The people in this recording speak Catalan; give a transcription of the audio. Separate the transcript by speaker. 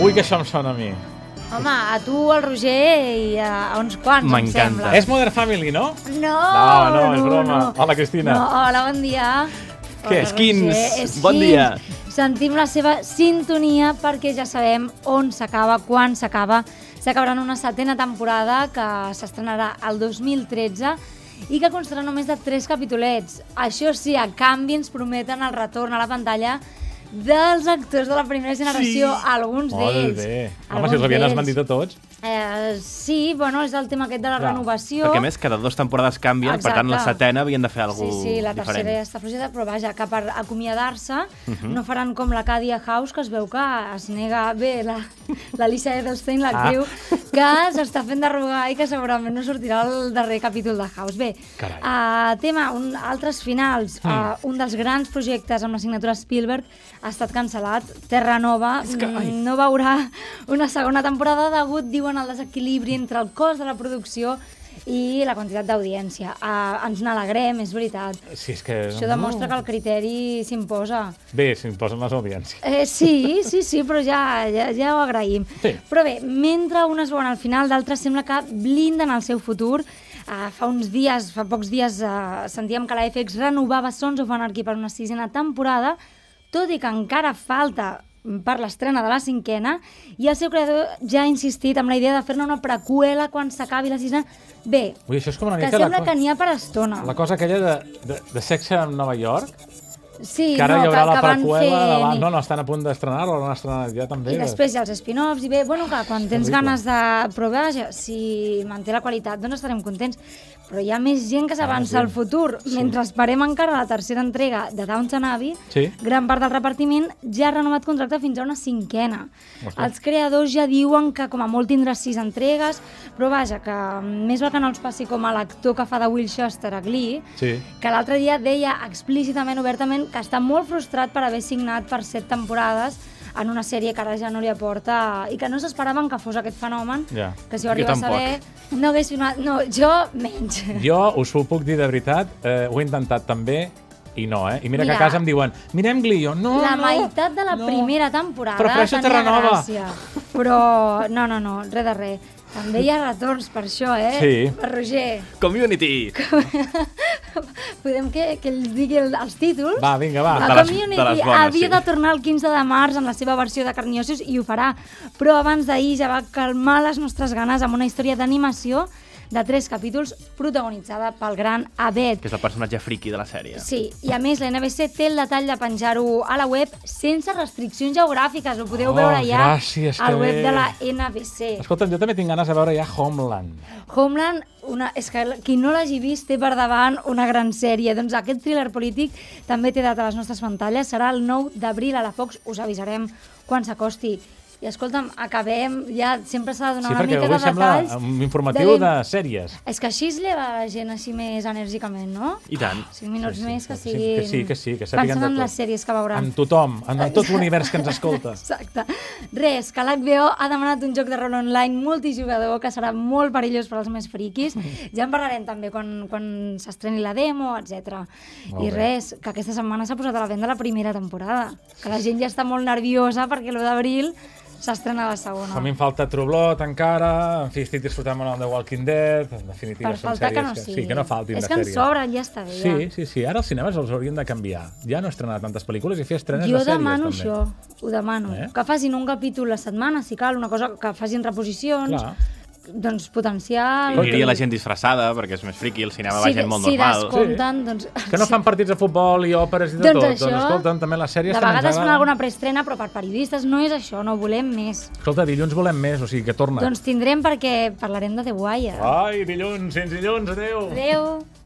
Speaker 1: Ui, que això em sona a mi.
Speaker 2: Home, a tu, al Roger i a uns quants, em
Speaker 3: M'encanta.
Speaker 2: sembla.
Speaker 1: És Modern Family, no?
Speaker 2: No,
Speaker 1: Eh? No, no, és broma.
Speaker 2: no.
Speaker 1: Hola, Cristina.
Speaker 2: No, hola, bon dia.
Speaker 1: Què?
Speaker 2: Hola,
Speaker 3: Skins,
Speaker 2: Roger, és
Speaker 3: bon
Speaker 2: Skins.
Speaker 3: dia.
Speaker 2: Sentim la seva sintonia perquè ja sabem on s'acaba, quan s'acaba. S'acabarà en una setena temporada que s'estrenarà el 2013 i que constarà només de tres capitolets. Això sí, a canvi ens prometen el retorn a la pantalla dels actors de la primera generació,
Speaker 3: Sí.
Speaker 2: alguns
Speaker 1: Molt
Speaker 2: d'ells.
Speaker 1: bé. Home,
Speaker 2: Alguns
Speaker 1: si els havien
Speaker 2: d'ells.
Speaker 1: esmendit a tots.
Speaker 2: Eh, sí, bueno, és el tema aquest de la
Speaker 1: Clar.
Speaker 2: renovació.
Speaker 3: Perquè a més cada dues temporades canvien, per tant la
Speaker 2: Exacte.
Speaker 3: setena havien de fer alguna
Speaker 2: Sí, sí, la tercera
Speaker 3: diferent.
Speaker 2: ja està fluixeta, però vaja, que per acomiadar-se uh
Speaker 3: Mhm.
Speaker 2: -huh. no faran com la Cadia House, que es veu que es nega bé la, la Lisa Edelstein, l'actriu, ah. que s'està fent derrogar i que segurament no sortirà el darrer capítol de House. Bé, uh, tema, un, altres finals. Mm. Uh, un dels grans projectes amb la signatura Spielberg ha estat cancel·lat. Terra Nova
Speaker 3: És que,
Speaker 2: mm,
Speaker 3: ai.
Speaker 2: no veurà una segona temporada degut, diuen, al desequilibri entre el cost de la producció i la quantitat d'audiència. Uh, ens n'alegrem, és veritat.
Speaker 1: Sí, és que...
Speaker 2: Això demostra que el criteri s'imposa.
Speaker 1: Bé, si em posen les audiències.
Speaker 2: Eh, sí, sí, sí, però ja, ja, ja ho agraïm.
Speaker 1: Sí.
Speaker 2: Però bé, mentre unes veuen al final, d'altres sembla que blinden el seu futur. Uh, fa uns dies, fa pocs dies, uh, sentíem que la FX renovava Sons of Anarchy per una sisena temporada, tot i que encara falta per l'estrena de la cinquena, i el seu creador ja ha insistit amb la idea de fer-ne una preqüela quan s'acabi la sisena. Bé,
Speaker 1: Ui, això és com una
Speaker 2: que
Speaker 1: mica la,
Speaker 2: sembla
Speaker 1: co
Speaker 2: que n'hi ha per estona.
Speaker 1: la cosa aquella de, de, de sexe a Nova York,
Speaker 2: Sí,
Speaker 1: que ara
Speaker 2: no,
Speaker 1: hi haurà
Speaker 2: que,
Speaker 1: la
Speaker 2: que van
Speaker 1: preqüela
Speaker 2: fer
Speaker 1: davant.
Speaker 2: ni-
Speaker 1: No, no, estan a punt d'estrenar-ho, l'han estrenat ja també.
Speaker 2: I després hi ha els spin-offs i bé, bueno, que quan tens
Speaker 1: horrible.
Speaker 2: ganes de provar, ja, si manté la qualitat, doncs estarem contents. Però hi ha més gent que s'avança
Speaker 1: gent.
Speaker 2: al futur. Mentre esperem encara la tercera entrega de Downton Abbey,
Speaker 1: Sí.
Speaker 2: gran part del repartiment ja ha renovat contracte fins a una cinquena.
Speaker 1: Ostres.
Speaker 2: Els creadors ja diuen que com a molt tindrà sis entregues, però vaja, que més val que no els passi com a l'actor que fa de Will Shuster a Glee,
Speaker 1: Sí.
Speaker 2: que l'altre dia deia explícitament, obertament, que està molt frustrat per haver signat per set temporades en una sèrie que ara ja no li aporta i que no s'esperaven que fos aquest fenomen,
Speaker 1: Ja.
Speaker 2: que si
Speaker 3: Jo
Speaker 2: ho arriba a
Speaker 3: tampoc.
Speaker 2: saber no hagués firmat... No, jo menys.
Speaker 1: Jo us ho puc dir de veritat, eh, ho he intentat també, i no, eh? I mira, que
Speaker 2: Mira.
Speaker 1: a casa em diuen, mirem Glee, jo, no,
Speaker 2: la
Speaker 1: no,
Speaker 2: meitat de la
Speaker 1: no.
Speaker 2: primera temporada
Speaker 1: Prefereixo
Speaker 2: tenia
Speaker 1: Terra Nova.
Speaker 2: gràcia. Però no, no, no, res de res. També hi ha retorns per això, eh?
Speaker 1: Sí.
Speaker 2: Per Roger.
Speaker 3: Community!
Speaker 2: Podem que, que els digui el, els títols?
Speaker 1: Va, vinga, va.
Speaker 3: Ah, De
Speaker 2: La
Speaker 3: les-
Speaker 2: Community
Speaker 3: de les bones,
Speaker 2: havia
Speaker 3: sí.
Speaker 2: de tornar el 15 de març amb la seva versió de Carniosius i ho farà, però abans d'ahir ja va calmar les nostres ganes amb una història d'animació de tres capítols protagonitzada pel gran Abed.
Speaker 3: Que és el personatge friki de la sèrie.
Speaker 2: Sí, i a més la NBC té el detall de penjar-ho a la web sense restriccions geogràfiques, ho podeu
Speaker 1: Oh,
Speaker 2: veure ja
Speaker 1: gràcies,
Speaker 2: al
Speaker 1: que
Speaker 2: web
Speaker 1: bé.
Speaker 2: de la NBC.
Speaker 1: Escolta'm, jo també tinc ganes de veure ja Homeland.
Speaker 2: Homeland, una, és que qui no l'hagi vist té per davant una gran sèrie. Doncs aquest thriller polític també té data a les nostres pantalles. Serà el 9 d'abril a la Fox. Us avisarem quan s'acosti. I escolta'm, acabem, ja sempre s'ha de donar
Speaker 1: sí,
Speaker 2: una
Speaker 1: perquè
Speaker 2: mica
Speaker 1: avui
Speaker 2: de
Speaker 1: sembla
Speaker 2: detalls.
Speaker 1: un informatiu de,
Speaker 2: de-
Speaker 1: sèries.
Speaker 2: És que així es lleva la gent així més enèrgicament, no?
Speaker 3: I tant.
Speaker 2: 5 minuts
Speaker 1: Sí, sí,
Speaker 2: més que
Speaker 1: sí,
Speaker 2: siguin...
Speaker 1: que sí, que sí, que sàpiguen
Speaker 2: Pensant
Speaker 1: de
Speaker 2: en
Speaker 1: tot.
Speaker 2: les sèries que veuran. Ah.
Speaker 1: Amb tothom, amb tot l'univers que ens escolta.
Speaker 2: Exacte. Res, que l'HBO ha demanat un joc de rol online multijugador que serà molt perillós per als més friquis. Ja en parlarem també quan, quan s'estreni la demo, etc.
Speaker 1: Molt
Speaker 2: I
Speaker 1: bé.
Speaker 2: res, que aquesta setmana s'ha posat a la venda la primera temporada. Que la gent ja està molt nerviosa perquè l'1 d'abril s'estrena la segona.
Speaker 1: A mi em falta True Blood encara, en fi, estic disfrutant molt de Walking Dead, en definitiva
Speaker 2: per
Speaker 1: són
Speaker 2: faltar
Speaker 1: sèries
Speaker 2: que no sigui.
Speaker 1: sí, que no faltin
Speaker 2: És
Speaker 1: de
Speaker 2: que ens
Speaker 1: sèries.
Speaker 2: sobren, ja està bé. ja.
Speaker 1: Sí, sí, sí, ara els cinemes els haurien de canviar. Ja no estrenar tantes pel·lícules i fer estrenes
Speaker 2: Jo
Speaker 1: de sèries,
Speaker 2: demano
Speaker 1: també.
Speaker 2: això, ho demano.
Speaker 1: Eh?
Speaker 2: Eh? Que facin un capítol la setmana, si cal, una cosa que facin reposicions,
Speaker 1: Clar.
Speaker 2: doncs potencial...
Speaker 3: I aniria la gent disfressada, perquè és més friki, el cinema va
Speaker 2: si,
Speaker 3: gent molt
Speaker 2: si
Speaker 3: normal.
Speaker 2: descompten, doncs...
Speaker 1: Que no fan partits de futbol i òperes i de
Speaker 2: Doncs
Speaker 1: tot.
Speaker 2: això,
Speaker 1: Doncs escolta'm, també les sèries
Speaker 2: de
Speaker 1: que ens
Speaker 2: vegades fan
Speaker 1: agraden.
Speaker 2: alguna preestrena, però per periodistes no és això, no volem més.
Speaker 1: Escolta, dilluns volem més, o sigui que torna. Ah.
Speaker 2: Doncs tindrem perquè parlarem de The Wire.
Speaker 1: Ai, dilluns, fins dilluns, adeu.
Speaker 2: Adéu!